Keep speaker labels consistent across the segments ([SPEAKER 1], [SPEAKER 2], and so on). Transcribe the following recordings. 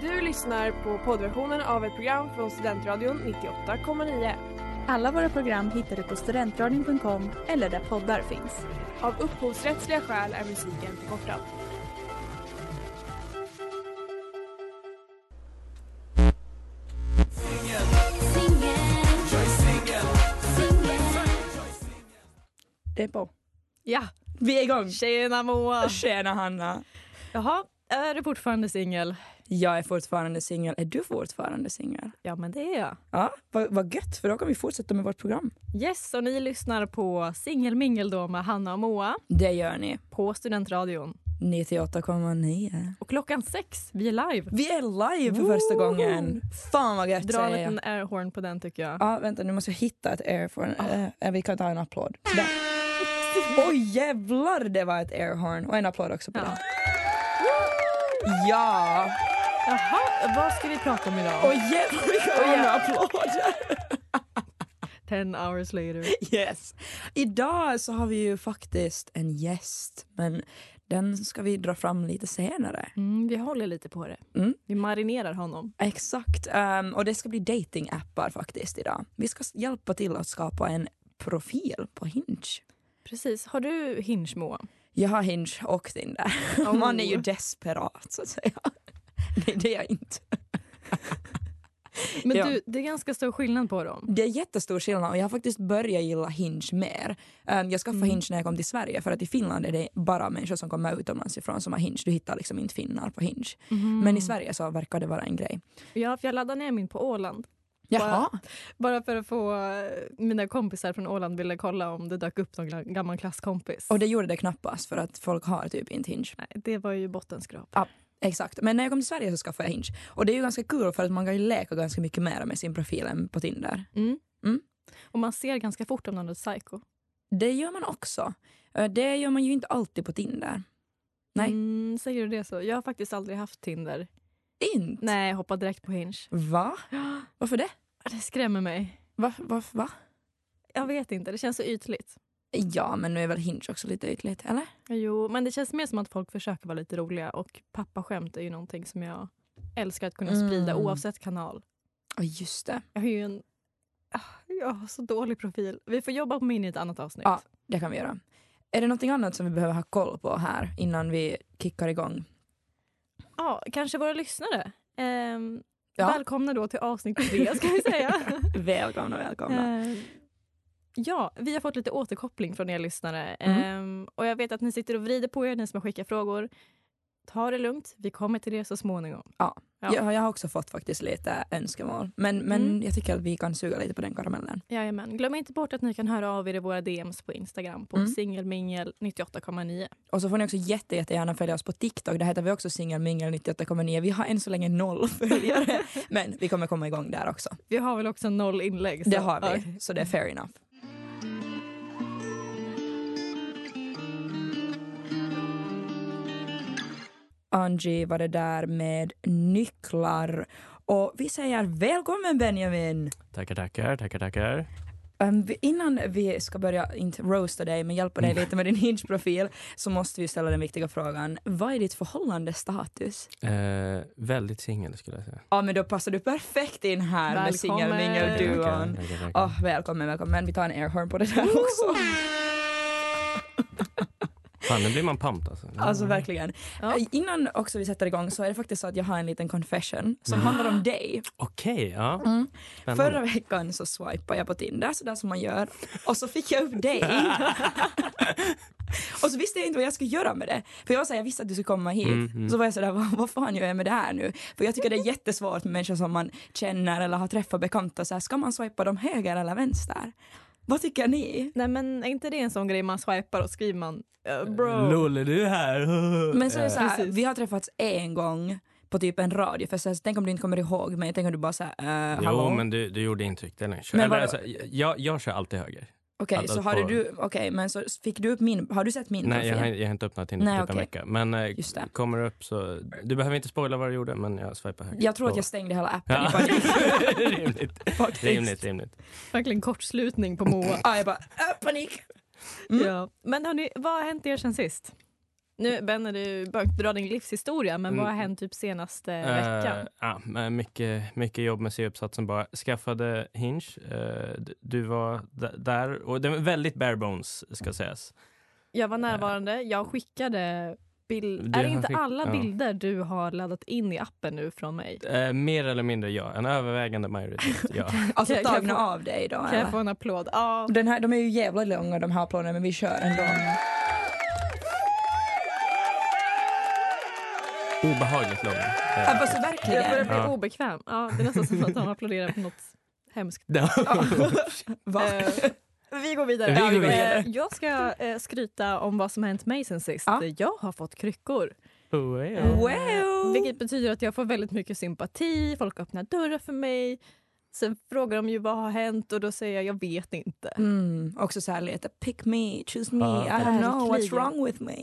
[SPEAKER 1] Du lyssnar på poddversionen av ett program från Studentradion 98,9.
[SPEAKER 2] Alla våra program hittar du på studentradion.com eller där poddar finns.
[SPEAKER 1] Av upphovsrättsliga skäl är musiken förkortad.
[SPEAKER 2] Det är på.
[SPEAKER 3] Ja,
[SPEAKER 2] Vi är igång!
[SPEAKER 3] tjena Moa!
[SPEAKER 2] Tjena Hanna!
[SPEAKER 3] Jaha, är du fortfarande singel?
[SPEAKER 2] Jag är fortfarande singel. Är du fortfarande singel?
[SPEAKER 3] Ja, men det är jag.
[SPEAKER 2] Ja, vad, vad gött för då kan vi fortsätta med vårt program.
[SPEAKER 3] Yes, och ni lyssnar på Singelmingel då med Hanna och Moa
[SPEAKER 2] Det gör ni.
[SPEAKER 3] på Studentradion.
[SPEAKER 2] 98,9.
[SPEAKER 3] Och klockan sex, vi är live.
[SPEAKER 2] Vi är live för första
[SPEAKER 3] Woo!
[SPEAKER 2] gången. Fan vad gött
[SPEAKER 3] Dra en
[SPEAKER 2] säger jag.
[SPEAKER 3] liten airhorn på den tycker jag.
[SPEAKER 2] Ja, vänta nu måste jag hitta ett airhorn. Eh, vi kan ta en applåd. Där. Oj jävlar det var ett airhorn och en applåd också på
[SPEAKER 3] Ja.
[SPEAKER 2] det. Ja!
[SPEAKER 3] Jaha, vad ska vi prata om idag?
[SPEAKER 2] Och jävlar vilka roliga applåder!
[SPEAKER 3] Ten hours later.
[SPEAKER 2] Yes. Idag så har vi ju faktiskt en gäst, men den ska vi dra fram lite senare.
[SPEAKER 3] Mm, vi håller lite på det.
[SPEAKER 2] Mm.
[SPEAKER 3] Vi marinerar honom.
[SPEAKER 2] Exakt. ehm, och det ska bli datingappar faktiskt idag. Vi ska s- hjälpa till att skapa en profil på Hinge.
[SPEAKER 3] Precis. Har du Hinge Moa?
[SPEAKER 2] Jag har Hinge och Tinder.
[SPEAKER 3] Oh.
[SPEAKER 2] Man är ju desperat så att säga. Nej, det är jag inte.
[SPEAKER 3] Men
[SPEAKER 2] Ja.
[SPEAKER 3] du, det är ganska stor skillnad på dem.
[SPEAKER 2] Det är jättestor skillnad och jag har faktiskt börjat gilla Hinge mer. Ehm, jag skaffade
[SPEAKER 3] Mm.
[SPEAKER 2] Hinge när jag kom till Sverige för att i Finland är det bara människor som kommer utomlands ifrån som har Hinge. Du hittar liksom inte finnar på Hinge.
[SPEAKER 3] Mm-hmm.
[SPEAKER 2] Men i Sverige så verkar det vara en grej.
[SPEAKER 3] Ja, för jag laddade ner min på Åland.
[SPEAKER 2] Jaha.
[SPEAKER 3] Bara för att få eh, mina kompisar från Åland ville kolla om det dök upp någon gla- gammal klasskompis.
[SPEAKER 2] Och det gjorde det knappast för att folk har typ inte Hinge.
[SPEAKER 3] Nej, det var ju bottenskrap.
[SPEAKER 2] Exakt. Men när jag kom till Sverige så skaffade jag Hinge. Och det är ju ganska kul för att man kan ju leka ganska mycket mer med sin profil än på Tinder.
[SPEAKER 3] Mm.
[SPEAKER 2] Mm.
[SPEAKER 3] Och man ser ganska fort om någon är ett psycho.
[SPEAKER 2] Det gör man också. Eh, Det gör man ju inte alltid på Tinder. Nej.
[SPEAKER 3] Mm, säger du det så? Jag har faktiskt aldrig haft Tinder.
[SPEAKER 2] Inte?
[SPEAKER 3] Nej, jag hoppar direkt på Hinge.
[SPEAKER 2] Va? Varför det?
[SPEAKER 3] Ah, Det skrämmer mig.
[SPEAKER 2] Va? Va? Va?
[SPEAKER 3] Jag vet inte, det känns så ytligt.
[SPEAKER 2] Ja, men nu är väl Hinge också lite ytligt, eller?
[SPEAKER 3] Jo, men det känns mer som att folk försöker vara lite roliga och pappaskämt är ju någonting som jag älskar att kunna sprida
[SPEAKER 2] Mm.
[SPEAKER 3] oavsett kanal.
[SPEAKER 2] Ja, just det.
[SPEAKER 3] Jag har ju en... Ah, Jag har så dålig profil. Vi får jobba på min i ett annat avsnitt.
[SPEAKER 2] Ja. Det kan vi göra. Är det någonting annat som vi behöver ha koll på här innan vi kickar igång?
[SPEAKER 3] Ja, kanske våra lyssnare. Ehm,
[SPEAKER 2] Ja.
[SPEAKER 3] Välkomna då till avsnitt tre ska vi säga.
[SPEAKER 2] Välkomna, välkomna.
[SPEAKER 3] Ehm, ja, vi har fått lite återkoppling från er lyssnare.
[SPEAKER 2] Mm.
[SPEAKER 3] Ehm, och jag vet att ni sitter och vrider på er, ni som har skickat frågor. Ta det lugnt, vi kommer till det så småningom. ja.
[SPEAKER 2] Jag, jag har också fått faktiskt lite önskemål. Men, men
[SPEAKER 3] Mm.
[SPEAKER 2] jag tycker att vi kan suga lite på den karamellen.
[SPEAKER 3] Jajamän. Glöm inte bort att ni kan höra av er i våra DMs på Instagram på
[SPEAKER 2] Mm.
[SPEAKER 3] singelmingel98,9.
[SPEAKER 2] Och så får ni också jätte, jättegärna följa oss på TikTok. Där heter vi också singelmingel98,9. Vi har än så länge noll följare. men vi kommer komma igång där också.
[SPEAKER 3] Vi har väl också noll inlägg? så-
[SPEAKER 2] Det har
[SPEAKER 3] Ja.
[SPEAKER 2] vi, så det är fair enough. Angie var det där med nycklar. Och vi säger välkommen Benjamin!
[SPEAKER 4] Tackar, tackar, tackar, tackar.
[SPEAKER 2] Ehm, vi- innan vi ska börja, inte roasta dig, men hjälpa
[SPEAKER 3] Mm.
[SPEAKER 2] dig lite med din Hinge-profil så måste vi ställa den viktiga frågan. Vad är ditt förhållandestatus?
[SPEAKER 4] Eh, väldigt singel skulle jag säga.
[SPEAKER 2] Ja men då passar du perfekt in här med
[SPEAKER 3] Välkommen.
[SPEAKER 2] singelmingel-duon.
[SPEAKER 4] Tackar, tackar, tackar.
[SPEAKER 2] Oh, välkommen, välkommen. Vi tar en airhorn på det där också.
[SPEAKER 4] Fan, nu blir man pumped alltså.
[SPEAKER 2] Alltså verkligen.
[SPEAKER 3] Ja.
[SPEAKER 2] Eh, Innan också vi sätter igång så är det faktiskt så att jag har en liten confession som handlar om dig.
[SPEAKER 4] Okej, ja. Spännande.
[SPEAKER 2] Mm. Förra veckan så swipade jag på Tinder, sådär som man gör, och så fick jag upp dig. och så visste jag inte vad jag skulle göra med det. För jag, var så här, jag visste att du skulle komma hit. Så var jag sådär, vad, vad fan gör jag med det här nu? För jag tycker det är jättesvårt med människor som man känner eller har träffat bekanta. Så här, ska man swipa dem höger eller vänster? Vad tycker ni?
[SPEAKER 3] Nej men är inte det en sån grej man swipar och skriver man eh, bro?
[SPEAKER 4] Lol, är du här?
[SPEAKER 2] Men
[SPEAKER 4] Eh,
[SPEAKER 2] så är det så här,
[SPEAKER 3] Precis.
[SPEAKER 2] vi har träffats en gång på typ en radiofest, så här, tänk om du inte kommer ihåg mig, tänk om du bara såhär, uh, hallå?
[SPEAKER 4] Jo, men du, du gjorde intryck. Det är lugnt.
[SPEAKER 2] Men
[SPEAKER 4] Eller,
[SPEAKER 2] vadå?
[SPEAKER 4] alltså, jag, jag kör alltid höger.
[SPEAKER 2] Okej,
[SPEAKER 4] Alltså,
[SPEAKER 2] så har
[SPEAKER 4] på-
[SPEAKER 2] du, okej, men så fick du upp min, har du sett min
[SPEAKER 4] Nej,
[SPEAKER 2] profil?
[SPEAKER 4] jag har, jag har inte öppnat Tinder
[SPEAKER 2] Nej,
[SPEAKER 4] på typ en
[SPEAKER 2] okej.
[SPEAKER 4] vecka. Men eh,
[SPEAKER 2] Just det.
[SPEAKER 4] kommer det upp så... Du behöver inte spoila vad du gjorde, men jag swipar höger.
[SPEAKER 2] Jag tror att jag stängde hela appen i
[SPEAKER 4] Ja.
[SPEAKER 2] panik
[SPEAKER 4] rimligt.
[SPEAKER 2] faktiskt.
[SPEAKER 4] rimligt, rimligt.
[SPEAKER 3] Verkligen kortslutning på Moa.
[SPEAKER 2] Ja, jag bara, äh, panik!
[SPEAKER 3] Ja. Men hörni, vad har hänt er sen sist? Mm. Nu Ben, har du börjat dra din livshistoria, men vad har
[SPEAKER 4] Mm.
[SPEAKER 3] hänt typ senaste
[SPEAKER 4] Eh,
[SPEAKER 3] veckan?
[SPEAKER 4] ja, men mycket, mycket jobb med C-uppsatsen bara. Skaffade Hinge. eh, d- du var d- där. Och det var väldigt bare bones, ska sägas.
[SPEAKER 3] Jag var närvarande, jag skickade bild...
[SPEAKER 4] Du
[SPEAKER 3] Är det
[SPEAKER 4] har
[SPEAKER 3] inte
[SPEAKER 4] skick-
[SPEAKER 3] alla
[SPEAKER 4] ja.
[SPEAKER 3] bilder du har laddat in i appen nu från mig?
[SPEAKER 4] Eh, mer eller mindre ja. En övervägande majoritet ja.
[SPEAKER 2] Alltså
[SPEAKER 3] Kan jag- kan
[SPEAKER 2] tagna
[SPEAKER 3] jag få-
[SPEAKER 2] av dig då
[SPEAKER 3] Kan jag
[SPEAKER 2] eller?
[SPEAKER 3] få en applåd? Ja.
[SPEAKER 2] Den här, de är ju jävla långa de här applåderna men vi kör ändå.
[SPEAKER 4] Oh, Obehagligt lång. Eh,
[SPEAKER 2] Ja, Alltså
[SPEAKER 3] Jag börjar
[SPEAKER 2] verkligen.
[SPEAKER 3] bli
[SPEAKER 4] Ja.
[SPEAKER 3] obekväm. Ja, det är nästan som att de applåderar på något hemskt.
[SPEAKER 4] ja.
[SPEAKER 2] Va?
[SPEAKER 3] Eh, vi går vidare.
[SPEAKER 4] Vi
[SPEAKER 3] Eh,
[SPEAKER 4] går vidare.
[SPEAKER 3] Jag ska eh, skryta om vad som hänt mig sen sist.
[SPEAKER 2] Ja.
[SPEAKER 3] Jag har fått kryckor.
[SPEAKER 4] Oh, well.
[SPEAKER 3] Eh,
[SPEAKER 2] Wow.
[SPEAKER 3] Vilket betyder att jag får väldigt mycket sympati, folk öppnar dörrar för mig. Sen frågar de ju vad har hänt och då säger jag jag vet inte.
[SPEAKER 2] Mm, också så här lite pick me, choose me,
[SPEAKER 4] Ja.
[SPEAKER 2] I don't know what's
[SPEAKER 3] Verkligen.
[SPEAKER 2] wrong with me.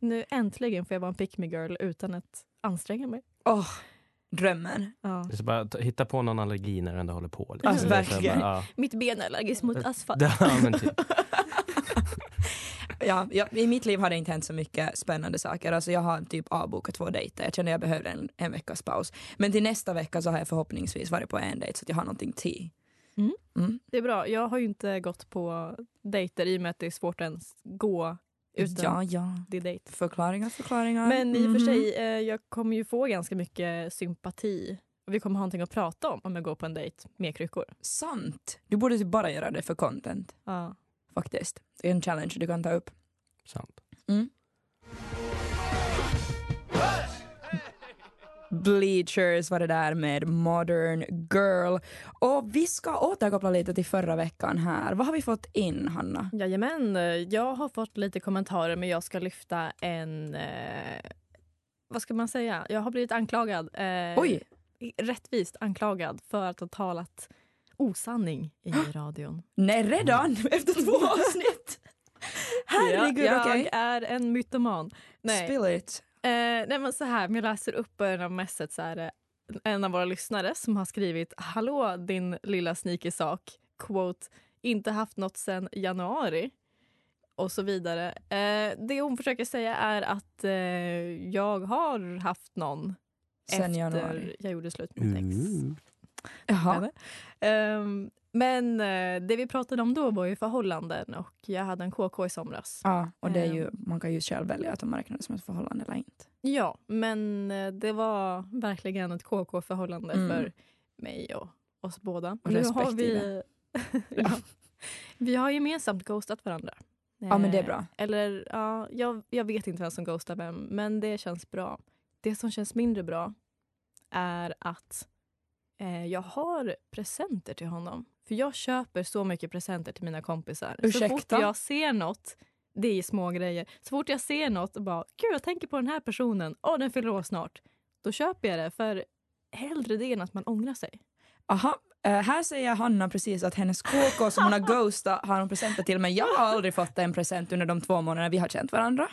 [SPEAKER 3] Nu äntligen får jag vara en pick me girl utan att anstränga mig.
[SPEAKER 2] Åh, drömmen.
[SPEAKER 3] Ja.
[SPEAKER 4] Det är så bara att hitta på någon allergi när den ändå håller på. Liksom.
[SPEAKER 2] Alltså,
[SPEAKER 4] Det är så här
[SPEAKER 2] verkligen.
[SPEAKER 4] bara, ja.
[SPEAKER 3] Mitt ben är allergiskt mot asfalt.
[SPEAKER 4] Ja, men typ.
[SPEAKER 2] Ja, ja, I mitt liv har det inte hänt så mycket spännande saker. Alltså jag har typ avbokat två dejter. Jag kände jag behövde en, en veckas paus. Men till nästa vecka så har jag förhoppningsvis varit på en dejt så att jag har någonting till. Mm.
[SPEAKER 3] Det är bra. Jag har ju inte gått på dejter i och med att det är svårt att ens gå utan
[SPEAKER 2] Ja, ja.
[SPEAKER 3] det är dejt.
[SPEAKER 2] Förklaringar, förklaringar.
[SPEAKER 3] Men i och
[SPEAKER 2] Mhm.
[SPEAKER 3] för sig, eh, jag kommer ju få ganska mycket sympati. Och vi kommer ha någonting att prata om om jag går på en dejt med kryckor.
[SPEAKER 2] Sant. Du borde typ bara göra det för content
[SPEAKER 3] Ja.
[SPEAKER 2] faktiskt. Det är en challenge du kan ta upp.
[SPEAKER 4] Sant.
[SPEAKER 2] Bleachers var det där med Modern Girl. Och vi ska återkoppla lite till förra veckan här. Vad har vi fått in Hanna?
[SPEAKER 3] Jajamän, eh, jag har fått lite kommentarer men jag ska lyfta en... Eh, vad ska man säga? Jag har blivit anklagad. Eh,
[SPEAKER 2] Oj!
[SPEAKER 3] Rättvist anklagad för att ha talat osanning i radion.
[SPEAKER 2] Nej redan efter två avsnitt! Herregud
[SPEAKER 3] Ja, jag
[SPEAKER 2] okej.
[SPEAKER 3] är en mytoman. Nej.
[SPEAKER 2] Spill it.
[SPEAKER 3] Eh, nej men så här, men jag läser upp en av messet så här, eh, en av våra lyssnare som har skrivit “Hallå din lilla sneaky sak” quote “Inte haft något sen januari” och så vidare. Eh, det hon försöker säga är att eh, jag har haft någon
[SPEAKER 2] Sen
[SPEAKER 3] efter
[SPEAKER 2] januari.
[SPEAKER 3] jag gjorde slut med mitt ex.
[SPEAKER 2] Jaha.
[SPEAKER 3] Eller? Ehm, men eh, det vi pratade om då var ju förhållanden och jag hade en KK i somras.
[SPEAKER 2] Ja, och det är
[SPEAKER 3] Eh.
[SPEAKER 2] ju, man kan ju själv välja att om man räknar det som ett förhållande eller inte.
[SPEAKER 3] Ja, men eh, det var verkligen ett KK-förhållande
[SPEAKER 2] Mm.
[SPEAKER 3] för mig och oss båda.
[SPEAKER 2] Och
[SPEAKER 3] har vi,
[SPEAKER 2] respektive.
[SPEAKER 3] ja, vi har gemensamt ghostat varandra.
[SPEAKER 2] Ja, men det är
[SPEAKER 3] Eh,
[SPEAKER 2] bra.
[SPEAKER 3] Eller, ja, jag, jag vet inte vem som ghostar vem, men det känns bra. Det som känns mindre bra är att eh, jag har presenter till honom. För jag köper så mycket presenter till mina kompisar. Så fort
[SPEAKER 2] Ursäkta?
[SPEAKER 3] jag ser något, det är små grejer. Så fort jag ser något och bara, gud jag tänker på den här personen, åh den fyller år snart. Då köper jag det, för hellre det än att man ångrar sig.
[SPEAKER 2] Aha. eh, här säger Hanna precis att hennes KK som hon har ghostat har hon presenter till men jag har aldrig fått en present under de två månader vi har känt varandra.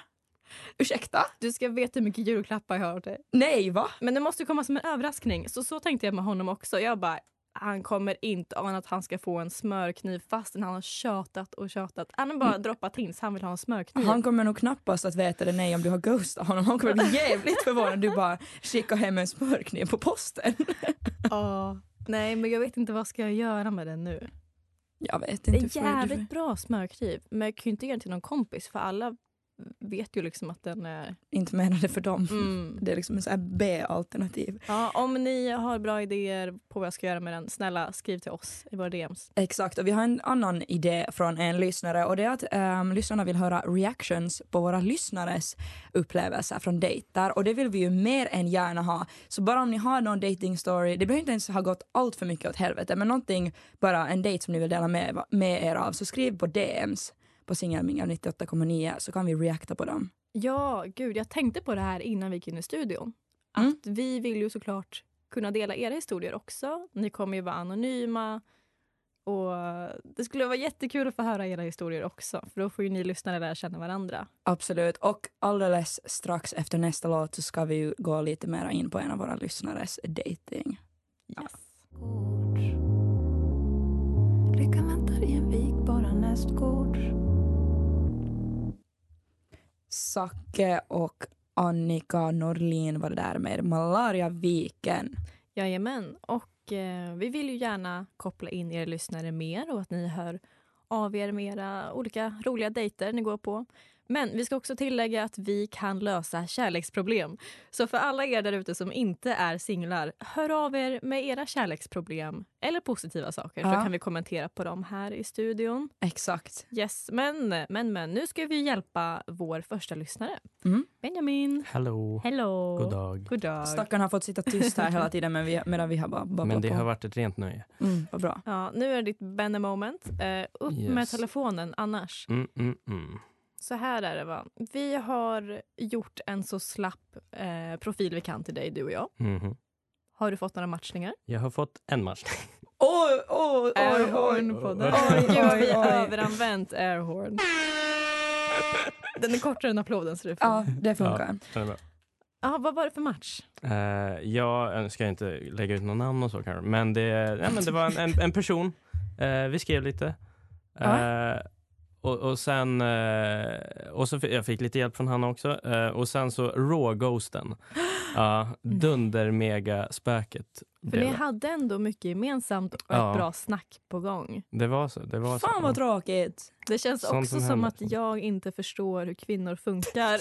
[SPEAKER 2] Ursäkta?
[SPEAKER 3] Du ska veta hur mycket julklappar jag har till dig.
[SPEAKER 2] Nej va?
[SPEAKER 3] Men det måste ju komma som en överraskning. Så så tänkte jag med honom också. Jag bara, han kommer inte ana att han ska få en smörkniv fastän han har tjatat och tjatat. Han har bara droppat hints, han vill ha en smörkniv.
[SPEAKER 2] Han kommer nog knappast att veta det nej om du har ghostat honom. Han kommer bli jävligt förvånad du bara skickar hem en smörkniv på posten.
[SPEAKER 3] Ja. Nej, men jag vet inte vad ska jag göra med den nu.
[SPEAKER 2] Jag vet inte.
[SPEAKER 3] Det är
[SPEAKER 2] får
[SPEAKER 3] en
[SPEAKER 2] du-
[SPEAKER 3] jävligt bra smörkniv, men jag kan ju inte ge den till någon kompis för alla vet ju liksom att den är...
[SPEAKER 2] Inte menade för dem.
[SPEAKER 3] Mm.
[SPEAKER 2] Det är liksom en sån här B-alternativ.
[SPEAKER 3] Ja, om ni har bra idéer på vad jag ska göra med den, snälla skriv till oss i våra DMs.
[SPEAKER 2] Exakt, och vi har en annan idé från en lyssnare och det är att ehm, lyssnarna vill höra reactions på våra lyssnares upplevelser från dejter och det vill vi ju mer än gärna ha. Så bara om ni har någon dating story, det behöver inte ens ha gått allt för mycket åt helvete men någonting, bara en dejt som ni vill dela med, med er av så skriv på DMs på singelmingel 98,9 så kan vi reacta på dem.
[SPEAKER 3] Ja, gud, jag tänkte på det här innan vi gick in i studion. Att
[SPEAKER 2] Mm.
[SPEAKER 3] vi vill ju såklart kunna dela era historier också. Ni kommer ju vara anonyma. Och det skulle vara jättekul att få höra era historier också, för då får ju ni lyssnare lära känna varandra.
[SPEAKER 2] Absolut, och alldeles strax efter nästa låt så ska vi ju gå lite mer in på en av våra lyssnares dating.
[SPEAKER 3] Yes.
[SPEAKER 2] Sacke och Annika Norlin var det där med Malariaviken.
[SPEAKER 3] Jajamän, och eh, vi vill ju gärna koppla in er lyssnare mer och att ni hör av er med era olika roliga dejter ni går på. Men vi ska också tillägga att vi kan lösa kärleksproblem. Så för alla er där ute som inte är singlar, hör av er med era kärleksproblem eller positiva saker så
[SPEAKER 2] Ja.
[SPEAKER 3] kan vi kommentera på dem här i studion.
[SPEAKER 2] Exakt.
[SPEAKER 3] Yes, men, men, men nu ska vi hjälpa vår första lyssnare.
[SPEAKER 2] Mm.
[SPEAKER 3] Benjamin.
[SPEAKER 4] Hello.
[SPEAKER 3] Hello.
[SPEAKER 4] God dag.
[SPEAKER 3] God dag.
[SPEAKER 2] Stackarn har fått sitta tyst här hela tiden men vi, medan vi har bara babblat
[SPEAKER 4] Men det
[SPEAKER 2] på.
[SPEAKER 4] har varit ett rent nöje.
[SPEAKER 2] Mm, vad bra.
[SPEAKER 3] Ja, nu är det ditt Benne moment. Eh, upp med
[SPEAKER 4] Yes.
[SPEAKER 3] telefonen annars.
[SPEAKER 4] Mm, mm, mm.
[SPEAKER 3] Så här är det va. Vi har gjort en så slapp eh, profil vi kan till dig, du och jag.
[SPEAKER 4] Mhm.
[SPEAKER 3] Har du fått några matchningar?
[SPEAKER 4] Jag har fått en match.
[SPEAKER 2] Oj, oj, oj, oj.
[SPEAKER 3] Airhorn på den.
[SPEAKER 2] Oj,
[SPEAKER 3] Oj, gud, vi
[SPEAKER 2] oj,
[SPEAKER 3] har
[SPEAKER 2] oj.
[SPEAKER 3] överanvänt airhorn. Den är kortare än applåden så det är fint.
[SPEAKER 2] Ja, det funkar.
[SPEAKER 4] Den är bra.
[SPEAKER 3] Ja, vad var det för match?
[SPEAKER 4] Eh, jag ska inte lägga ut något namn och så kanske, men det, nej, men det var en, en, en person. Eh, vi skrev lite. Eh, och, och sen, eh, och så fick, jag fick lite hjälp från han också. Eh, och sen så råghosten. Ja,
[SPEAKER 2] Mm.
[SPEAKER 4] Dunder-mega-spöket.
[SPEAKER 3] För
[SPEAKER 4] blev
[SPEAKER 3] ni
[SPEAKER 4] det.
[SPEAKER 3] hade ändå mycket gemensamt och ett
[SPEAKER 4] Ja.
[SPEAKER 3] bra snack på gång.
[SPEAKER 4] Det var så. Det var så.
[SPEAKER 2] Fan vad tråkigt.
[SPEAKER 3] Det känns
[SPEAKER 4] Sånt
[SPEAKER 3] också
[SPEAKER 4] som
[SPEAKER 3] som,
[SPEAKER 4] händer.
[SPEAKER 3] att jag inte förstår hur kvinnor funkar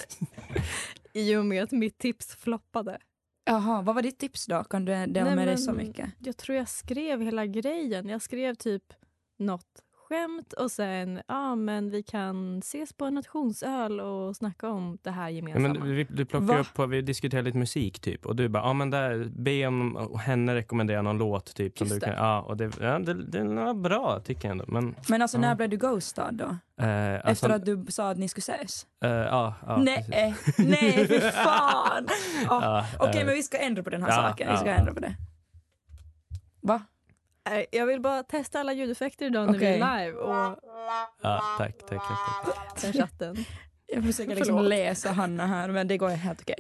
[SPEAKER 3] i och med att mitt tips floppade.
[SPEAKER 2] Jaha, vad var ditt tips då? Kan du dela
[SPEAKER 3] Nej,
[SPEAKER 2] med dig
[SPEAKER 3] men-
[SPEAKER 2] så mycket?
[SPEAKER 3] Jag tror jag skrev hela grejen. Jag skrev typ något skämt och sen ja men vi kan ses på en nationsöl och snacka om det här
[SPEAKER 4] Ja,
[SPEAKER 3] gemensamma.
[SPEAKER 4] men vi, du plockar
[SPEAKER 2] Va?
[SPEAKER 4] ju upp på, vi diskuterar lite musik typ och du bara, ja ah, men där, be om och henne rekommendera någon låt typ. Som
[SPEAKER 3] Just
[SPEAKER 4] du
[SPEAKER 3] det.
[SPEAKER 4] kan, ja, och det, ja, det, det var bra tycker jag ändå. Men,
[SPEAKER 2] Men alltså
[SPEAKER 4] Ja.
[SPEAKER 2] när blev du ghostad då?
[SPEAKER 4] eh, alltså,
[SPEAKER 2] Efter att du sa att ni skulle ses?
[SPEAKER 4] eh, ja, ja,
[SPEAKER 2] nej,
[SPEAKER 4] precis.
[SPEAKER 2] eh, nej, fy fan! Ja,
[SPEAKER 4] Ja,
[SPEAKER 2] Okej,
[SPEAKER 4] eh,
[SPEAKER 2] men vi ska ändra på den här
[SPEAKER 4] ja,
[SPEAKER 2] saken. Vi ska
[SPEAKER 4] ja.
[SPEAKER 2] ändra på det. Va?
[SPEAKER 3] Nej, Jag vill bara testa alla ljudeffekter idag när vi är
[SPEAKER 2] Okej.
[SPEAKER 3] live och
[SPEAKER 4] ja, tack, tack, tack, tack.
[SPEAKER 3] sen chatten.
[SPEAKER 2] Jag försöker liksom
[SPEAKER 3] Förlåt.
[SPEAKER 2] läsa Hanna här, men det går helt okej.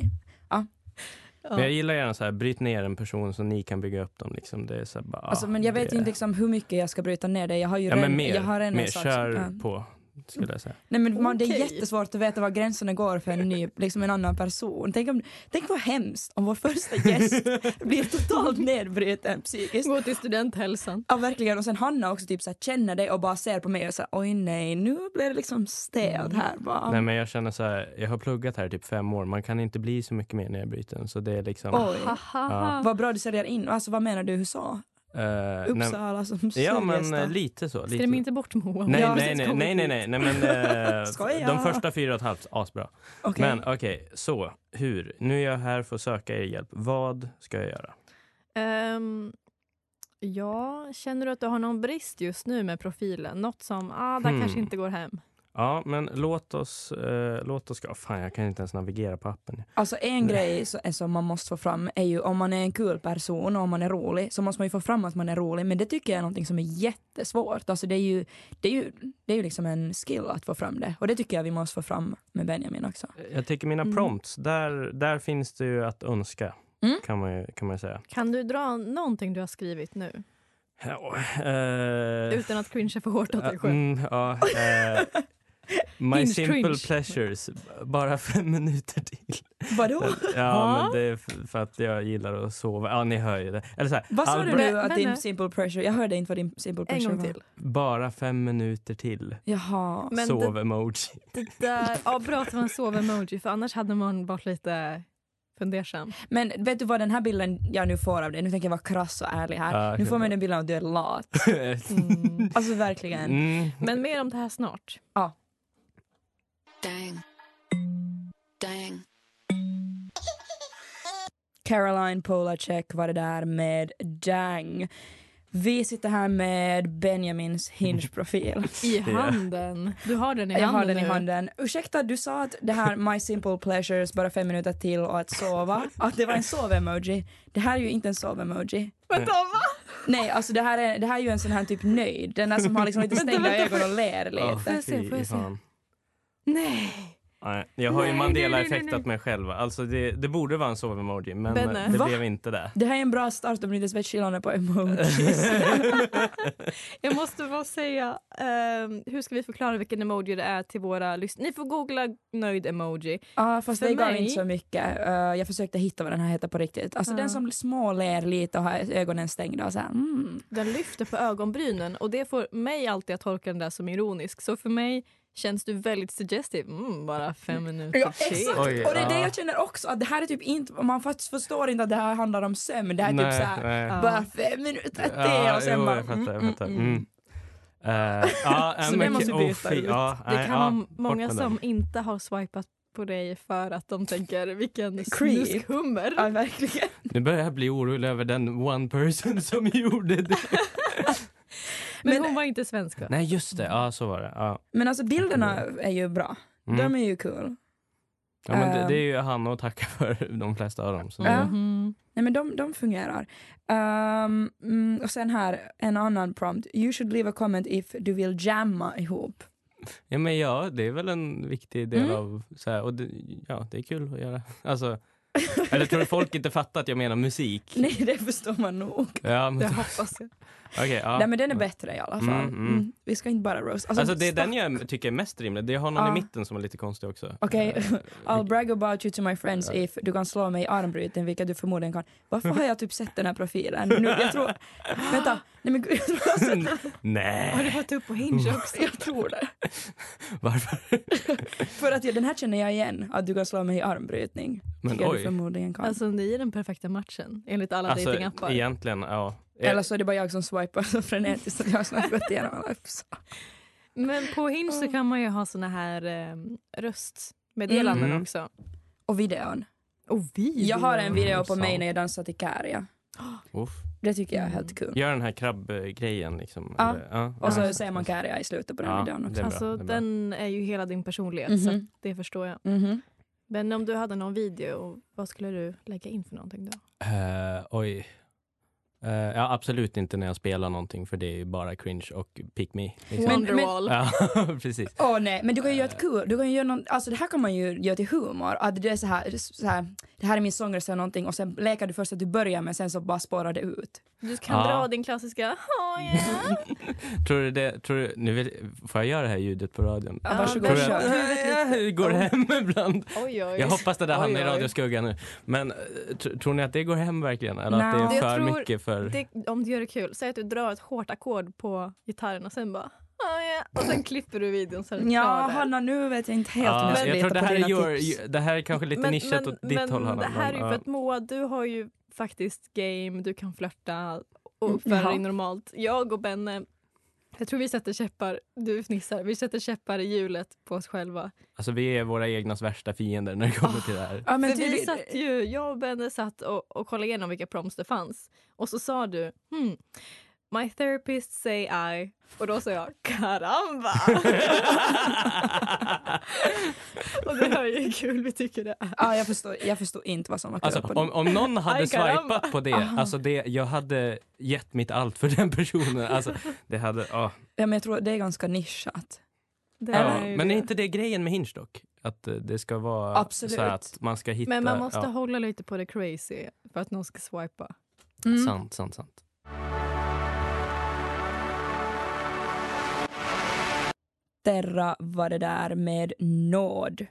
[SPEAKER 3] Ja.
[SPEAKER 4] Men jag gillar gärna så här, bryt ner en person så ni kan bygga upp dem. Liksom. Det är så här, bara,
[SPEAKER 2] Alltså, men jag
[SPEAKER 4] det-
[SPEAKER 2] vet ju inte liksom hur mycket jag ska bryta ner det. Jag har ju
[SPEAKER 4] ja,
[SPEAKER 2] redan...
[SPEAKER 4] men mer,
[SPEAKER 2] jag har redan
[SPEAKER 4] mer
[SPEAKER 2] sagt-
[SPEAKER 4] kör
[SPEAKER 2] ja.
[SPEAKER 4] på skulle jag säga.
[SPEAKER 2] Nej, men man, Det är
[SPEAKER 3] Okej.
[SPEAKER 2] jättesvårt att veta var gränserna går för en, ny, liksom en annan person. Tänk, om, tänk vad hemskt om vår första gäst blir totalt nedbruten psykiskt.
[SPEAKER 3] Gå till studenthälsan.
[SPEAKER 2] Ja verkligen och sen Hanna också typ så här, känner dig och bara ser på mig och säger oj nej nu blir det liksom stelt här bara.
[SPEAKER 4] Mm. Nej, men jag känner så här, jag har pluggat här i typ fem år, man kan inte bli så mycket mer när jag bryter en, så det är liksom...
[SPEAKER 2] Oj,
[SPEAKER 3] Haha.
[SPEAKER 2] vad bra du säljer in. Alltså vad menar du USA?
[SPEAKER 4] eh, nej-
[SPEAKER 2] Uppsala som
[SPEAKER 4] Ja, men eh,
[SPEAKER 2] Sölvesta.
[SPEAKER 4] lite så. Lite
[SPEAKER 3] Skräm
[SPEAKER 4] så.
[SPEAKER 3] inte bort Moa.
[SPEAKER 4] Nej,
[SPEAKER 2] Ja,
[SPEAKER 4] nej,
[SPEAKER 2] precis,
[SPEAKER 4] nej,
[SPEAKER 2] kom
[SPEAKER 4] nej,
[SPEAKER 2] hit.
[SPEAKER 4] nej, nej, nej, men eh,
[SPEAKER 2] Skoja.
[SPEAKER 4] de första fyra och ett halvt, asbra.
[SPEAKER 2] Okej.
[SPEAKER 4] Men okej, så hur? Nu är jag här för att söka er hjälp. Vad ska jag göra?
[SPEAKER 3] Ehm, ja, känner du att du har någon brist just nu med profilen? Något som, ah, där
[SPEAKER 4] Hmm.
[SPEAKER 3] kanske inte går hem.
[SPEAKER 4] Ja, men låt oss, eh, låt oss, oh, fan jag kan inte ens navigera på appen.
[SPEAKER 2] Alltså en grej så- som man måste få fram är ju om man är en kul person och om man är rolig så måste man ju få fram att man är rolig men det tycker jag är någonting som är jättesvårt. Alltså det är ju, det är ju, det är ju liksom en skill att få fram det och det tycker jag vi måste få fram med Benjamin också.
[SPEAKER 4] Jag tycker mina
[SPEAKER 3] Mm.
[SPEAKER 4] prompts, där, där finns det ju att önska.
[SPEAKER 2] Mm.
[SPEAKER 4] Kan man ju kan man ju säga.
[SPEAKER 3] Kan du dra någonting du har skrivit nu?
[SPEAKER 4] Ja, eh,
[SPEAKER 3] Utan att cringea för hårt åt dig
[SPEAKER 4] Ja,
[SPEAKER 3] själv.
[SPEAKER 4] mm, ja, eh, my
[SPEAKER 3] Hinge
[SPEAKER 4] simple
[SPEAKER 3] cringe.
[SPEAKER 4] pleasures, B- bara fem minuter till.
[SPEAKER 2] Vadå?
[SPEAKER 4] Ja, men det är f- för att jag gillar att sova. Ja, ni hör ju det. Eller så här,
[SPEAKER 2] Vad sa du
[SPEAKER 4] Albert-
[SPEAKER 2] nu att
[SPEAKER 3] Men-
[SPEAKER 2] din
[SPEAKER 3] men-
[SPEAKER 2] simple pressure, jag hörde inte vad din simple
[SPEAKER 3] En
[SPEAKER 2] pressure
[SPEAKER 3] gång
[SPEAKER 2] var.
[SPEAKER 3] till.
[SPEAKER 4] Bara fem minuter till.
[SPEAKER 2] Jaha.
[SPEAKER 3] Men
[SPEAKER 4] Sov-emoji.
[SPEAKER 3] det där, ja, bra att det var en sov-emoji för annars hade man varit lite fundersam.
[SPEAKER 2] Men vet du vad den här bilden jag nu får av dig, nu tänker jag vara krass och ärlig här.
[SPEAKER 4] Ja,
[SPEAKER 2] nu
[SPEAKER 4] okej,
[SPEAKER 2] får man
[SPEAKER 4] bra.
[SPEAKER 2] den bilden av att du är lat.
[SPEAKER 3] Mm.
[SPEAKER 2] Alltså verkligen.
[SPEAKER 4] Mm.
[SPEAKER 3] Men mer om det här snart.
[SPEAKER 5] Dang. Dang.
[SPEAKER 2] Caroline Polacek var det där med Dang. Vi sitter här med Benjamins Hinge-profil.
[SPEAKER 3] I handen. Du har den i
[SPEAKER 2] Jag
[SPEAKER 3] handen
[SPEAKER 2] har den i
[SPEAKER 3] nu.
[SPEAKER 2] handen. Ursäkta, du sa att det här My Simple Pleasures, bara fem minuter till och att sova, att det var en sov-emoji. Det här är ju inte en sov-emoji.
[SPEAKER 3] Vänta, va?
[SPEAKER 2] Nej, alltså det här är, det här är ju en sån här typ nöjd. Den där som har liksom lite stängda ögon och ler lite.
[SPEAKER 4] Åh,
[SPEAKER 3] Alltså, Får jag se,
[SPEAKER 4] fy
[SPEAKER 3] får jag se?
[SPEAKER 4] fan.
[SPEAKER 3] Nej.
[SPEAKER 4] Nej, jag har ju
[SPEAKER 3] Nej, nej, nej,
[SPEAKER 4] Mandela-effektat mig själv. Alltså det, det borde vara en sov-emoji, men eh,
[SPEAKER 3] Benne.
[SPEAKER 4] det
[SPEAKER 2] Va?
[SPEAKER 4] blev inte det.
[SPEAKER 2] Det här är en bra start om ni inte ens vet skillnaden på emojis.
[SPEAKER 3] Jag måste bara säga, ehm, hur ska vi förklara vilken emoji det är till våra lyssnare? Ni får googla nöjd emoji.
[SPEAKER 2] Ja fast
[SPEAKER 3] För
[SPEAKER 2] det gav
[SPEAKER 3] mig-
[SPEAKER 2] inte så mycket. Eh, jag försökte hitta vad den här heter på riktigt. Alltså
[SPEAKER 3] Ja.
[SPEAKER 2] den som småler lite och har ögonen stängda och så här, mm.
[SPEAKER 3] Den lyfter på ögonbrynen och det får mig alltid att tolka den där som ironisk. Så för mig känns du väldigt suggestive. Mm, bara fem minuter
[SPEAKER 2] Ja,
[SPEAKER 3] till.
[SPEAKER 2] exakt!
[SPEAKER 4] Oj,
[SPEAKER 2] och det är det
[SPEAKER 4] ja.
[SPEAKER 2] jag känner också, att det här är typ inte, man fast förstår inte att det här handlar om sömn. Det här är typ
[SPEAKER 4] Nej,
[SPEAKER 2] så här,
[SPEAKER 4] nej.
[SPEAKER 3] Ja.
[SPEAKER 2] bara fem minuter till
[SPEAKER 4] Ja,
[SPEAKER 2] och sen
[SPEAKER 4] jo,
[SPEAKER 2] bara...
[SPEAKER 4] jag fattar. Jag
[SPEAKER 2] mm,
[SPEAKER 4] fattar.
[SPEAKER 2] mm,
[SPEAKER 4] Mm.
[SPEAKER 2] mm.
[SPEAKER 4] Eh, ja,
[SPEAKER 2] Så
[SPEAKER 4] men
[SPEAKER 2] det
[SPEAKER 4] ke-
[SPEAKER 2] måste vi
[SPEAKER 4] oh,
[SPEAKER 2] byta
[SPEAKER 4] fy,
[SPEAKER 2] ut.
[SPEAKER 4] ja,
[SPEAKER 3] Det
[SPEAKER 4] nej,
[SPEAKER 3] kan
[SPEAKER 4] ja,
[SPEAKER 3] vara
[SPEAKER 4] bort
[SPEAKER 3] många
[SPEAKER 4] med den.
[SPEAKER 3] som inte har swipat på dig för att de tänker vilken
[SPEAKER 2] Creep.
[SPEAKER 3] snuskhummer.
[SPEAKER 2] Ja, verkligen.
[SPEAKER 4] Nu börjar jag bli orolig över den one person som gjorde det.
[SPEAKER 3] Men,
[SPEAKER 2] Men-
[SPEAKER 3] hon var inte svenska.
[SPEAKER 4] Nej, just det. Ja, så var det. Ja.
[SPEAKER 2] Men alltså bilderna är ju bra.
[SPEAKER 4] Mm.
[SPEAKER 2] De är ju cool.
[SPEAKER 4] Ja, men det,
[SPEAKER 2] Ehm.
[SPEAKER 4] det är ju Hanna att tacka för, de flesta av dem. Så.
[SPEAKER 2] Ja.
[SPEAKER 3] Mhm.
[SPEAKER 2] Nej men de, de fungerar. Ehm, mm, och sen här en annan prompt. You should leave a comment if du vill jamma ihop.
[SPEAKER 4] Ja, men ja, det är väl en viktig del
[SPEAKER 2] Mm.
[SPEAKER 4] av... Så här, och det, ja, det är kul att göra. Alltså, eller tror du folk inte fattar att jag menar musik?
[SPEAKER 2] Nej det förstår man nog.
[SPEAKER 4] Ja, men,
[SPEAKER 3] Det hoppas jag.
[SPEAKER 4] okej, ja.
[SPEAKER 2] Nej men den är bättre i alla fall.
[SPEAKER 4] Mm, mm.
[SPEAKER 2] Mm, Vi ska inte bara roast.
[SPEAKER 4] Alltså det är
[SPEAKER 2] stack-
[SPEAKER 4] den jag tycker är mest rimlig. Det har någon
[SPEAKER 2] Ja.
[SPEAKER 4] i mitten som är lite konstig också.
[SPEAKER 2] Okej,
[SPEAKER 4] Eh,
[SPEAKER 2] I'll
[SPEAKER 4] vilket-
[SPEAKER 2] brag about you to my friends
[SPEAKER 4] Ja.
[SPEAKER 2] if du kan slå mig i armbryten, vilket du förmodligen kan. Varför har jag typ sett den här profilen? Nu, jag tror... Vänta, nej men gud, jag tror jag har sett
[SPEAKER 4] Mm.
[SPEAKER 2] den.
[SPEAKER 3] Har du
[SPEAKER 4] Nej,
[SPEAKER 3] fått upp på Hinge också?
[SPEAKER 2] Jag tror det.
[SPEAKER 4] varför?
[SPEAKER 2] För att jag, den här känner jag igen, att du kan slå mig i armbrytning.
[SPEAKER 4] Men
[SPEAKER 2] vilket du
[SPEAKER 4] oj.
[SPEAKER 2] förmodligen kan.
[SPEAKER 3] Alltså ni är den perfekta matchen enligt alla
[SPEAKER 4] Alltså
[SPEAKER 3] dejtingappar.
[SPEAKER 4] egentligen, ja. Eh,
[SPEAKER 2] Eller så är det bara jag som swipar så frenetiskt att jag har snart gått igenom alla apps.
[SPEAKER 3] Men mm. på Hinge så kan man ju ha såna här eh, röstmeddelanden
[SPEAKER 4] Mm.
[SPEAKER 3] också.
[SPEAKER 2] Och videon.
[SPEAKER 3] Och vi.
[SPEAKER 2] Jag har en video på mig
[SPEAKER 4] Sant.
[SPEAKER 2] när jag dansar till Kärja.
[SPEAKER 4] Uff.
[SPEAKER 2] Det tycker jag är helt kul.
[SPEAKER 4] Gör den här krabbgrejen liksom.
[SPEAKER 2] Ja.
[SPEAKER 4] Eller, Mm. ja,
[SPEAKER 2] Och
[SPEAKER 4] ja.
[SPEAKER 2] så säger man Kärja i slutet på den
[SPEAKER 4] Ja,
[SPEAKER 2] videon
[SPEAKER 4] det
[SPEAKER 2] också.
[SPEAKER 4] är bra,
[SPEAKER 3] Alltså
[SPEAKER 4] det är bra.
[SPEAKER 3] den är ju hela din personlighet så
[SPEAKER 2] Mhm.
[SPEAKER 3] att det förstår jag.
[SPEAKER 2] Mhm.
[SPEAKER 3] Men om du hade någon video, vad skulle du lägga in för någonting då?
[SPEAKER 4] Eh, oj. Eh, ja, absolut inte när jag spelar någonting för det är ju bara cringe och pick me. Liksom.
[SPEAKER 2] Men-
[SPEAKER 3] Wonderwall.
[SPEAKER 4] Ja, precis.
[SPEAKER 2] Åh nej, men du kan ju göra ett
[SPEAKER 4] Eh.
[SPEAKER 2] kul, du kan ju göra någon, alltså det här kan man ju göra till humor, att det är så här, så här det här är min sångröst eller någonting och sen lekar du först att du börjar men sen så bara spårar det ut.
[SPEAKER 3] Du kan
[SPEAKER 4] Ja.
[SPEAKER 3] dra din klassiska oh, yeah.
[SPEAKER 4] Tror du det, tror du, nu vill, får jag göra det här ljudet på radion?
[SPEAKER 2] Ja, varsågod,
[SPEAKER 4] Tror du
[SPEAKER 2] kör.
[SPEAKER 4] att, Eh, jag går hem ibland.
[SPEAKER 3] Oj, oj.
[SPEAKER 4] Jag hoppas det där
[SPEAKER 3] Oj,
[SPEAKER 4] hamnar i
[SPEAKER 3] oj.
[SPEAKER 4] radioskuggan nu. Men eh, tr- tror ni att det går hem verkligen? Eller
[SPEAKER 2] Nej.
[SPEAKER 4] att det är
[SPEAKER 3] Jag
[SPEAKER 4] för
[SPEAKER 3] tror
[SPEAKER 4] mycket för...
[SPEAKER 3] Det, om du gör det kul, säg att du drar ett hårt ackord på gitarren och sen bara oh, yeah. och sen klipper du videon så är den
[SPEAKER 2] Ja
[SPEAKER 3] klar där.
[SPEAKER 2] Hanna nu vet jag inte helt om
[SPEAKER 4] Ja,
[SPEAKER 2] jag ska
[SPEAKER 4] Ah, jag tror
[SPEAKER 2] lita
[SPEAKER 4] det
[SPEAKER 2] på
[SPEAKER 4] här, är
[SPEAKER 2] dina
[SPEAKER 4] your,
[SPEAKER 2] tips.
[SPEAKER 4] det här är kanske lite nischat åt ditt
[SPEAKER 3] men
[SPEAKER 4] håll Hanna.
[SPEAKER 3] det här är ju
[SPEAKER 4] men,
[SPEAKER 3] för
[SPEAKER 4] ja.
[SPEAKER 3] att Moa, du har ju faktiskt game, du kan flörta och
[SPEAKER 2] Mm,
[SPEAKER 3] uppföra
[SPEAKER 2] jaha.
[SPEAKER 3] dig normalt. Jag och Benne, jag tror vi sätter käppar, du fnissar, vi sätter käppar i hjulet på oss själva.
[SPEAKER 4] Alltså vi är våra egnas värsta fiender när det kommer till det här.
[SPEAKER 2] Ja, men
[SPEAKER 3] För vi
[SPEAKER 2] tydligt-
[SPEAKER 3] satt ju, jag och Benne satt och, och kollade igenom vilka prompts det fanns. Och så sa du, hmm, my therapist say I. Och då sa jag, karamba! och det hör ju hur kul vi tycker det är.
[SPEAKER 2] ja, jag, förstår, jag förstår inte vad som var kul
[SPEAKER 4] Alltså,
[SPEAKER 2] på
[SPEAKER 4] om,
[SPEAKER 2] det.
[SPEAKER 4] om någon hade
[SPEAKER 3] Aj, karamba.
[SPEAKER 4] swipat på det, alltså det, jag hade gett mitt allt för den personen. Alltså, det hade, ah.
[SPEAKER 2] Ja, men jag tror det är ganska nischat.
[SPEAKER 3] det
[SPEAKER 4] ja.
[SPEAKER 3] ju
[SPEAKER 4] Men är
[SPEAKER 3] det.
[SPEAKER 4] inte det grejen med Hinge dock? Att eh, det ska vara
[SPEAKER 2] Absolut.
[SPEAKER 4] så här att man ska hitta...
[SPEAKER 3] Men man måste
[SPEAKER 4] ja,
[SPEAKER 3] hålla lite på det crazy för att någon ska swipa.
[SPEAKER 2] Mm.
[SPEAKER 4] Sant, sant, sant.
[SPEAKER 2] Terra var det där med nåd.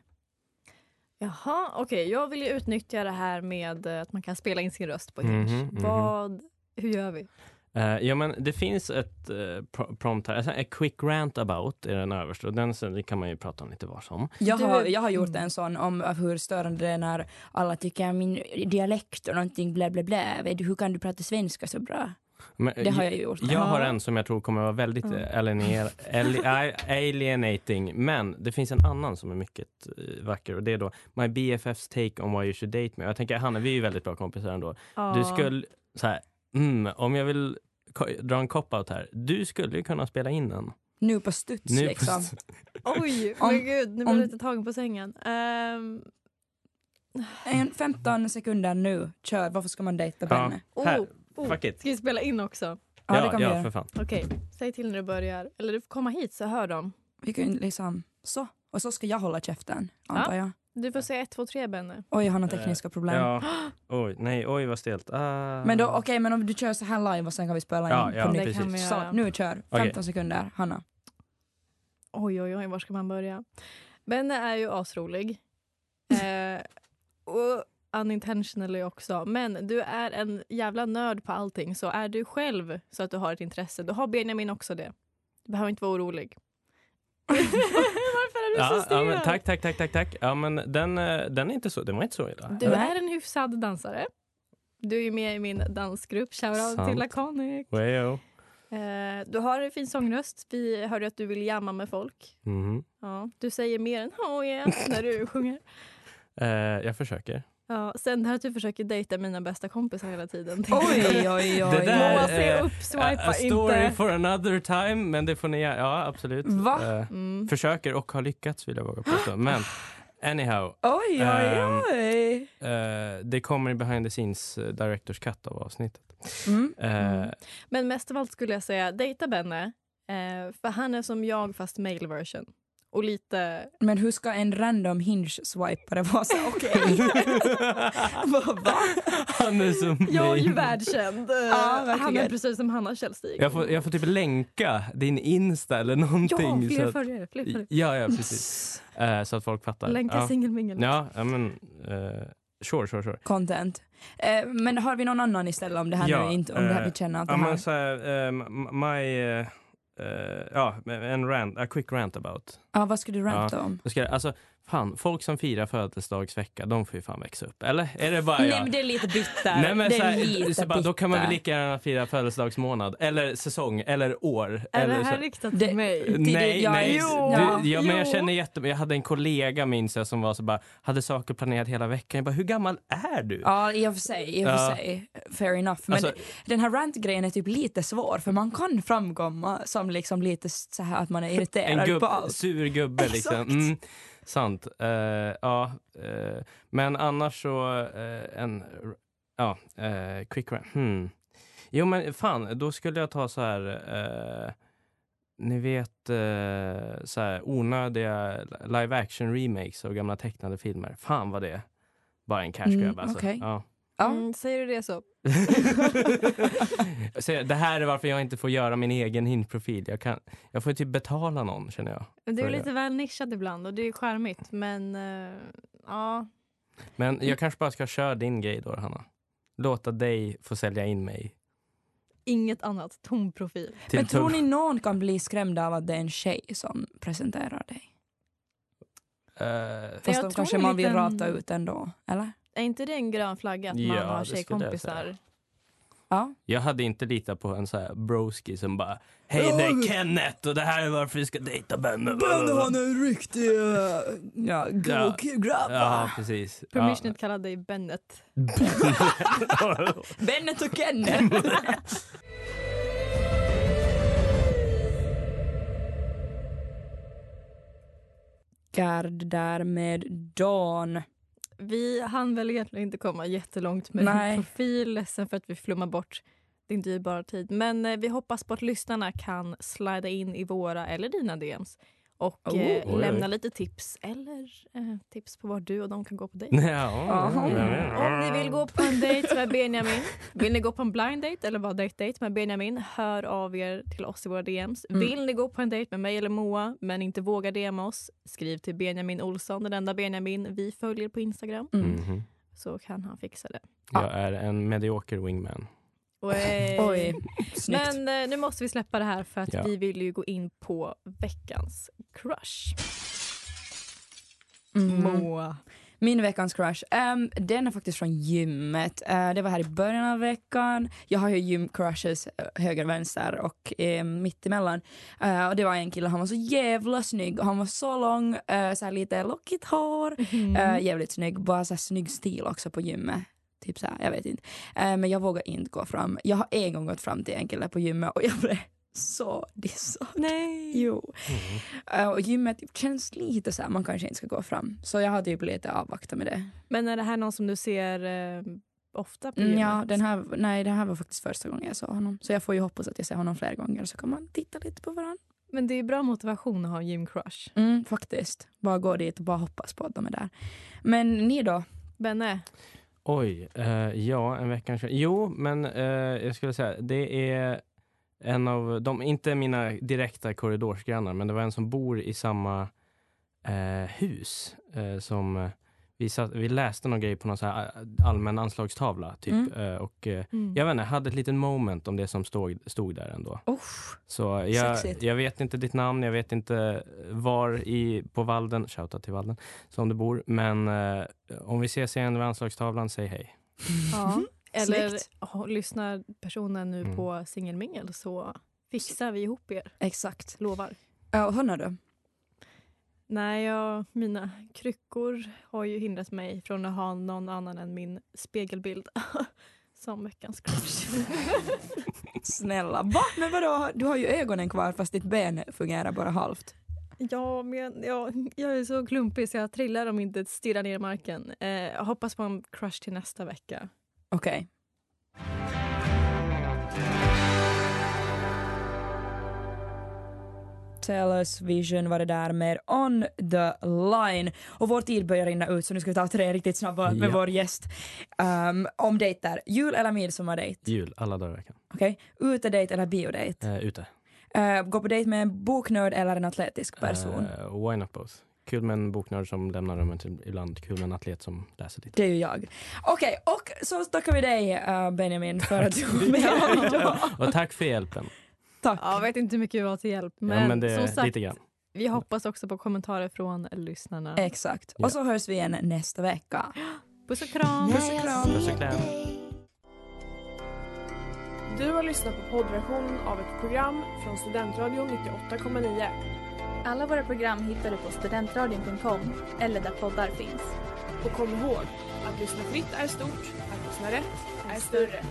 [SPEAKER 3] Jaha, okej. Jag vill ju utnyttja det här med eh, att man kan spela in sin röst på ett
[SPEAKER 4] Mhm,
[SPEAKER 3] Hinge.
[SPEAKER 4] mhm.
[SPEAKER 3] Vad, hur gör vi?
[SPEAKER 4] Eh, ja, men det finns ett eh, pro- prompt här. Alltså, a quick rant about är den överst och den sen, det kan man ju prata om lite var som.
[SPEAKER 2] Jag
[SPEAKER 3] Du-
[SPEAKER 2] har, jag har gjort en sån om hur störande det är när alla tycker min dialekt och någonting blä blä blä. Vet du, Hur kan du prata svenska så bra?
[SPEAKER 4] Men,
[SPEAKER 2] Det har jag ju gjort.
[SPEAKER 4] Eh, Jag har en som jag tror kommer vara väldigt
[SPEAKER 3] Ja.
[SPEAKER 4] eh, alienier, ali- a- alienating, men det finns en annan som är mycket eh, vacker och det är då My BFFs take on why you should date me. Och Jag tänker Hanna, vi är ju väldigt bra kompisar ändå. Du
[SPEAKER 3] Ja.
[SPEAKER 4] skulle, så här, mm, om jag vill ko- dra en cop-out här, du skulle ju kunna spela in en.
[SPEAKER 2] Nu på studs
[SPEAKER 4] Nu på
[SPEAKER 2] liksom.
[SPEAKER 4] st-
[SPEAKER 3] Oj,
[SPEAKER 2] Om-
[SPEAKER 3] men gud, nu blir
[SPEAKER 2] om-
[SPEAKER 3] jag lite tagen på sängen. Ehm,
[SPEAKER 2] En 15 sekunder nu, kör. Varför ska man dejta
[SPEAKER 4] Ja.
[SPEAKER 2] Benne?
[SPEAKER 3] oh,
[SPEAKER 4] Här,
[SPEAKER 3] oh.
[SPEAKER 4] fuck it.
[SPEAKER 3] Ska vi spela in också?
[SPEAKER 2] Ja, det
[SPEAKER 4] Ja,
[SPEAKER 2] kan vi
[SPEAKER 4] ja
[SPEAKER 2] göra.
[SPEAKER 4] för fan.
[SPEAKER 3] Okej, säg till när du börjar. Eller du får komma hit så hör de.
[SPEAKER 2] Vi kan ju liksom, så. Och så ska jag hålla käften, antar jag.
[SPEAKER 3] Du får säga ett, två, tre Benne.
[SPEAKER 2] Oj, jag har några tekniska problem.
[SPEAKER 4] Eh, Ja. Oj, nej, oj vad stelt. Ah.
[SPEAKER 2] Men då, okej, men om du kör så här live och sen kan vi spela in
[SPEAKER 4] Ja, ja,
[SPEAKER 2] på
[SPEAKER 3] Det
[SPEAKER 2] nytt.
[SPEAKER 3] kan
[SPEAKER 4] precis.
[SPEAKER 3] vi
[SPEAKER 2] Så,
[SPEAKER 3] göra.
[SPEAKER 2] nu kör. 15
[SPEAKER 4] Okej.
[SPEAKER 2] sekunder, Hanna.
[SPEAKER 3] Oj, oj, oj, var ska man börja? Benne är ju asrolig. Eh, och unintentionally också. Men du är en jävla nörd på allting. Så är du själv så att du har ett intresse, då har Benjamin också det. Du behöver inte vara orolig. Varför är du så
[SPEAKER 4] ja,
[SPEAKER 3] stel?
[SPEAKER 4] ja, men tack, tack, tack, tack, tack. Ja, men den, eh, den är inte så, den var inte så illa.
[SPEAKER 3] Du är en hyfsad dansare. Du är ju med i min dansgrupp. Shoutout
[SPEAKER 4] Sant.
[SPEAKER 3] till Laconic.
[SPEAKER 4] Wayo.
[SPEAKER 3] Eh, du har en fin sångröst. Vi hörde att du vill jamma med folk.
[SPEAKER 4] Mhm.
[SPEAKER 3] Ja, du säger mer än oh yeah när du sjunger.
[SPEAKER 4] Eh, jag försöker.
[SPEAKER 3] Ja, sen det här att du försöker dejta mina bästa kompisar hela tiden.
[SPEAKER 2] Oj, oj, oj.
[SPEAKER 4] Det där-
[SPEAKER 3] Mamma, se
[SPEAKER 4] eh,
[SPEAKER 3] upp,
[SPEAKER 4] A, a
[SPEAKER 3] swipa
[SPEAKER 4] story
[SPEAKER 3] inte.
[SPEAKER 4] for another time, men det får ni gärna- Ja, absolut.
[SPEAKER 2] Va?
[SPEAKER 4] Eh,
[SPEAKER 3] Mm.
[SPEAKER 4] försöker och har lyckats vill jag våga påstå. Men anyhow,
[SPEAKER 2] Oj, oj,
[SPEAKER 4] Ehm.
[SPEAKER 2] oj.
[SPEAKER 4] eh, det kommer i behind the scenes eh, directors cut av avsnittet.
[SPEAKER 2] Mm.
[SPEAKER 4] Eh,
[SPEAKER 3] Mm. Men mest av allt skulle jag säga, dejta Benne. Eh, för han är som jag fast male version. Och lite...
[SPEAKER 2] Men hur ska en random hinge-swipare vara så okej? Vad- va?
[SPEAKER 4] Han är som
[SPEAKER 3] Jag är ju
[SPEAKER 4] mig.
[SPEAKER 3] världskänd. Eh, han är
[SPEAKER 2] verkligen.
[SPEAKER 3] precis som Hanna Källstig.
[SPEAKER 4] jag, får, jag får typ länka din Insta eller någonting.
[SPEAKER 3] ja,
[SPEAKER 4] så
[SPEAKER 3] fler
[SPEAKER 4] att,
[SPEAKER 3] följare. Fler följare.
[SPEAKER 4] ja, ja, precis. Eh, så att folk fattar.
[SPEAKER 3] Länka
[SPEAKER 4] ja.
[SPEAKER 3] singelmingel.
[SPEAKER 4] Ja, ja, men eh, sure, sure, sure.
[SPEAKER 2] Content. Eh, men har vi någon annan istället om det här
[SPEAKER 4] Ja,
[SPEAKER 2] nu inte, om det här
[SPEAKER 4] eh,
[SPEAKER 2] vi känner att det
[SPEAKER 4] Ja, men
[SPEAKER 2] här...
[SPEAKER 4] så här, ehm, m- my, eh, eh, ja, en rant, a quick rant about.
[SPEAKER 2] Ja, vad ska du ranta om?
[SPEAKER 4] Jag Ska, alltså, fan, folk som firar födelsedagsvecka, de får ju fan växa upp. Eller? Är det bara jag?
[SPEAKER 2] Nej men det är lite bitter.
[SPEAKER 4] Nej, men
[SPEAKER 2] det
[SPEAKER 4] så
[SPEAKER 2] är
[SPEAKER 4] här,
[SPEAKER 2] lite
[SPEAKER 4] så bara, då kan man väl
[SPEAKER 2] bitter.
[SPEAKER 4] lika gärna fira födelsedagsmånad, eller säsong, eller år.
[SPEAKER 3] Är
[SPEAKER 4] eller
[SPEAKER 3] det här
[SPEAKER 4] så-
[SPEAKER 3] riktat
[SPEAKER 2] Det-
[SPEAKER 3] till mig?
[SPEAKER 2] till
[SPEAKER 4] Nej,
[SPEAKER 2] dig? Ja,
[SPEAKER 4] nej.
[SPEAKER 2] jo.
[SPEAKER 4] Du, ja, men jag
[SPEAKER 3] jo.
[SPEAKER 4] känner jättemycket. Jag hade en kollega minns jag som var så bara, hade saker planerat hela veckan. Jag bara, hur gammal är du?
[SPEAKER 2] Ja, i och för sig. I och för
[SPEAKER 4] Ja.
[SPEAKER 2] sig. Fair enough. Men
[SPEAKER 4] Alltså-
[SPEAKER 2] den här rant-grejen är typ lite svår för man kan framkomma som liksom lite så här att man är
[SPEAKER 4] En
[SPEAKER 2] irriterad
[SPEAKER 4] gubb,
[SPEAKER 2] på allt.
[SPEAKER 4] sur gubbe liksom.
[SPEAKER 2] Exakt.
[SPEAKER 4] Mm, sant. Eh, ja, eh, men annars så eh, en ja, eh, quick rant. Hmm. Jo men fan, då skulle jag ta så här. eh, ni vet eh, så här onödiga live action remakes av gamla tecknade filmer. Fan vad det är. Bara en cash grab
[SPEAKER 2] Mm,
[SPEAKER 4] alltså.
[SPEAKER 2] okej.
[SPEAKER 4] Ja.
[SPEAKER 2] Ja.
[SPEAKER 3] Mm, säger du det så?
[SPEAKER 4] så det här är varför jag inte får göra min egen hintprofil. Jag, kan, jag får typ betala någon känner jag.
[SPEAKER 3] Du
[SPEAKER 4] För
[SPEAKER 3] är
[SPEAKER 4] det.
[SPEAKER 3] lite väl nischad ibland och det är charmigt men eh, ja.
[SPEAKER 4] Men
[SPEAKER 2] Mm.
[SPEAKER 4] jag kanske bara ska köra din grej då, Hanna. Låta dig få sälja in mig.
[SPEAKER 3] Inget annat, tom profil.
[SPEAKER 4] Till
[SPEAKER 2] Men tror
[SPEAKER 4] tuff-
[SPEAKER 2] ni någon kan bli skrämd av att det är en tjej som presenterar dig?
[SPEAKER 4] Eh,
[SPEAKER 2] Fast
[SPEAKER 3] jag
[SPEAKER 2] då
[SPEAKER 3] tror
[SPEAKER 2] kanske
[SPEAKER 3] en
[SPEAKER 2] man vill
[SPEAKER 3] liten-
[SPEAKER 2] rata ut ändå, eller?
[SPEAKER 3] Är inte det en grön flagga att
[SPEAKER 4] Ja,
[SPEAKER 3] man har
[SPEAKER 4] det skulle jag
[SPEAKER 3] tjejkompisar?
[SPEAKER 4] säga.
[SPEAKER 2] Ja.
[SPEAKER 4] jag hade inte litat på en sån här broski som bara Hej det är Kenneth och det här är varför vi ska dejta Benne.
[SPEAKER 2] en riktig eh, ja,
[SPEAKER 4] go-
[SPEAKER 2] grabb.
[SPEAKER 4] Ja, precis. Ja.
[SPEAKER 3] Permissionet kallade dig Bennet.
[SPEAKER 2] Bennet och Kenneth. Gard där med Dan.
[SPEAKER 3] Vi hann väl egentligen inte komma jättelångt med
[SPEAKER 2] Nej.
[SPEAKER 3] din profil. Ledsen för att vi flummar bort din dyrbara tid. Men eh, vi hoppas på att lyssnarna kan slida in i våra eller dina DMs och
[SPEAKER 2] Oh.
[SPEAKER 3] eh,
[SPEAKER 4] Oj, oj.
[SPEAKER 3] lämna lite tips eller eh, tips på var du och de kan gå på dejt.
[SPEAKER 4] Ja, ja, ja.
[SPEAKER 3] Om ni vill gå på en dejt med Benjamin, vill ni gå på en blind date eller bara date date med Benjamin, hör av er till oss i våra DMs.
[SPEAKER 2] Mm.
[SPEAKER 3] Vill ni gå på en dejt med mig eller Moa, men inte vågar DM oss, skriv till Benjamin Olsson, den enda Benjamin vi följer på Instagram,
[SPEAKER 2] Mm.
[SPEAKER 4] Mhm.
[SPEAKER 3] så kan han fixa det.
[SPEAKER 4] Jag är en medioker wingman.
[SPEAKER 3] Oj.
[SPEAKER 2] Oj, snyggt.
[SPEAKER 3] eh, Men eh, nu måste vi släppa det här för att
[SPEAKER 4] Ja.
[SPEAKER 3] vi vill ju gå in på veckans crush.
[SPEAKER 2] Mm.
[SPEAKER 3] Moa.
[SPEAKER 2] Min veckans crush, ehm, den är faktiskt från gymmet. Eh, det var här i början av veckan. Jag har ju gymcrushes eh, höger, vänster och eh, mittemellan. Eh, och det var en kille, han var så jävla snygg. Och Han var så lång, eh, så här lite lockigt hår. Eh, jävligt snygg, bara så här snygg stil också på gymmet. Typ så här, jag vet inte. Eh, men jag vågar inte gå fram. Jag har en gång gått fram till en kille på gymmet och jag blev så dissad.
[SPEAKER 3] Nej.
[SPEAKER 2] Jo. Eh, och gymmet typ känns lite så här, man kanske inte ska gå fram. Så jag har typ lite avvaktat med det.
[SPEAKER 3] Men är det här någon som du ser eh, ofta på
[SPEAKER 2] Mm,
[SPEAKER 3] gymmet?
[SPEAKER 2] Ja, den här, nej, det här var faktiskt första gången jag såg honom. Så jag får ju hoppas att jag ser honom fler gånger så kan man titta lite på varandra.
[SPEAKER 3] Men det är bra motivation att ha en gymcrush.
[SPEAKER 2] Mm, faktiskt. Bara gå dit och bara hoppas på att de är där. Men ni då?
[SPEAKER 3] Benne,
[SPEAKER 4] Oj, eh, ja, en vecka kanske. Jo, men eh, jag skulle säga, det är en av de, inte mina direkta korridorsgrannar, men det var en som bor i samma eh, hus eh, som eh, vi, satt, vi läste någon grej på någon så här eh, allmän anslagstavla, typ.
[SPEAKER 2] Mm.
[SPEAKER 4] Eh, och eh,
[SPEAKER 3] mm.
[SPEAKER 4] jag vet inte, hade ett litet moment om det som stod, stod där ändå.
[SPEAKER 2] Usch.
[SPEAKER 4] Så jag,
[SPEAKER 2] Sexigt.
[SPEAKER 4] jag vet inte ditt namn, jag vet inte var i, på Valden, shoutout till Valden, som du bor. Men eh, om vi ses igen vid anslagstavlan, säg hej.
[SPEAKER 3] ja. Eller
[SPEAKER 2] Snyggt.
[SPEAKER 3] oh, lyssnar personen nu
[SPEAKER 4] Mm.
[SPEAKER 3] på singelmingel så fixar vi ihop er.
[SPEAKER 2] Exakt.
[SPEAKER 3] Lovar.
[SPEAKER 2] Ja, och Hanna då?
[SPEAKER 3] Nej, jag, mina kryckor har ju hindrat mig från att ha någon annan än min spegelbild som veckans crush.
[SPEAKER 2] Snälla. Va? Men vadå? Du har ju ögonen kvar fast ditt ben fungerar bara halvt.
[SPEAKER 3] Ja, men jag, jag, jag är så klumpig så jag trillar om inte stirrar ner i marken. Eh, jag hoppas på en crush till nästa vecka.
[SPEAKER 2] Okej. Tell us Vision var det där med On the line. Och vår tid börjar rinna ut så nu ska vi ta tre riktigt snabba med
[SPEAKER 4] Ja.
[SPEAKER 2] vår gäst. Ehm, om dejter, jul eller midsommardejt?
[SPEAKER 4] Jul, alla dagar i veckan.
[SPEAKER 2] Okej? Utedejt eller biodejt?
[SPEAKER 4] Eh, ute.
[SPEAKER 2] Eh, gå på dejt med en boknörd eller en atletisk person?
[SPEAKER 4] Eh, why not both? Kul med en boknörd som lämnar rummet ibland, kul med en atlet som läser lite.
[SPEAKER 2] Det är ju jag. Okej, och så tackar vi dig eh, Benjamin för att du var med idag.
[SPEAKER 4] Och tack för hjälpen.
[SPEAKER 2] Tack.
[SPEAKER 3] Jag vet inte hur mycket vi var till hjälp, men,
[SPEAKER 4] ja, men det,
[SPEAKER 3] som sagt,
[SPEAKER 4] lite grann.
[SPEAKER 3] vi hoppas också på kommentarer från lyssnarna.
[SPEAKER 2] Exakt.
[SPEAKER 4] Ja.
[SPEAKER 2] Och så hörs vi igen nästa vecka.
[SPEAKER 3] Puss och kram!
[SPEAKER 4] Puss och kram.
[SPEAKER 1] Du har lyssnat på poddversionen av ett program från Studentradion 98,9.
[SPEAKER 6] Alla våra program hittar du på studentradion.com eller där poddar finns.
[SPEAKER 1] Och kom ihåg, att lyssna fritt är stort, att lyssna rätt är större.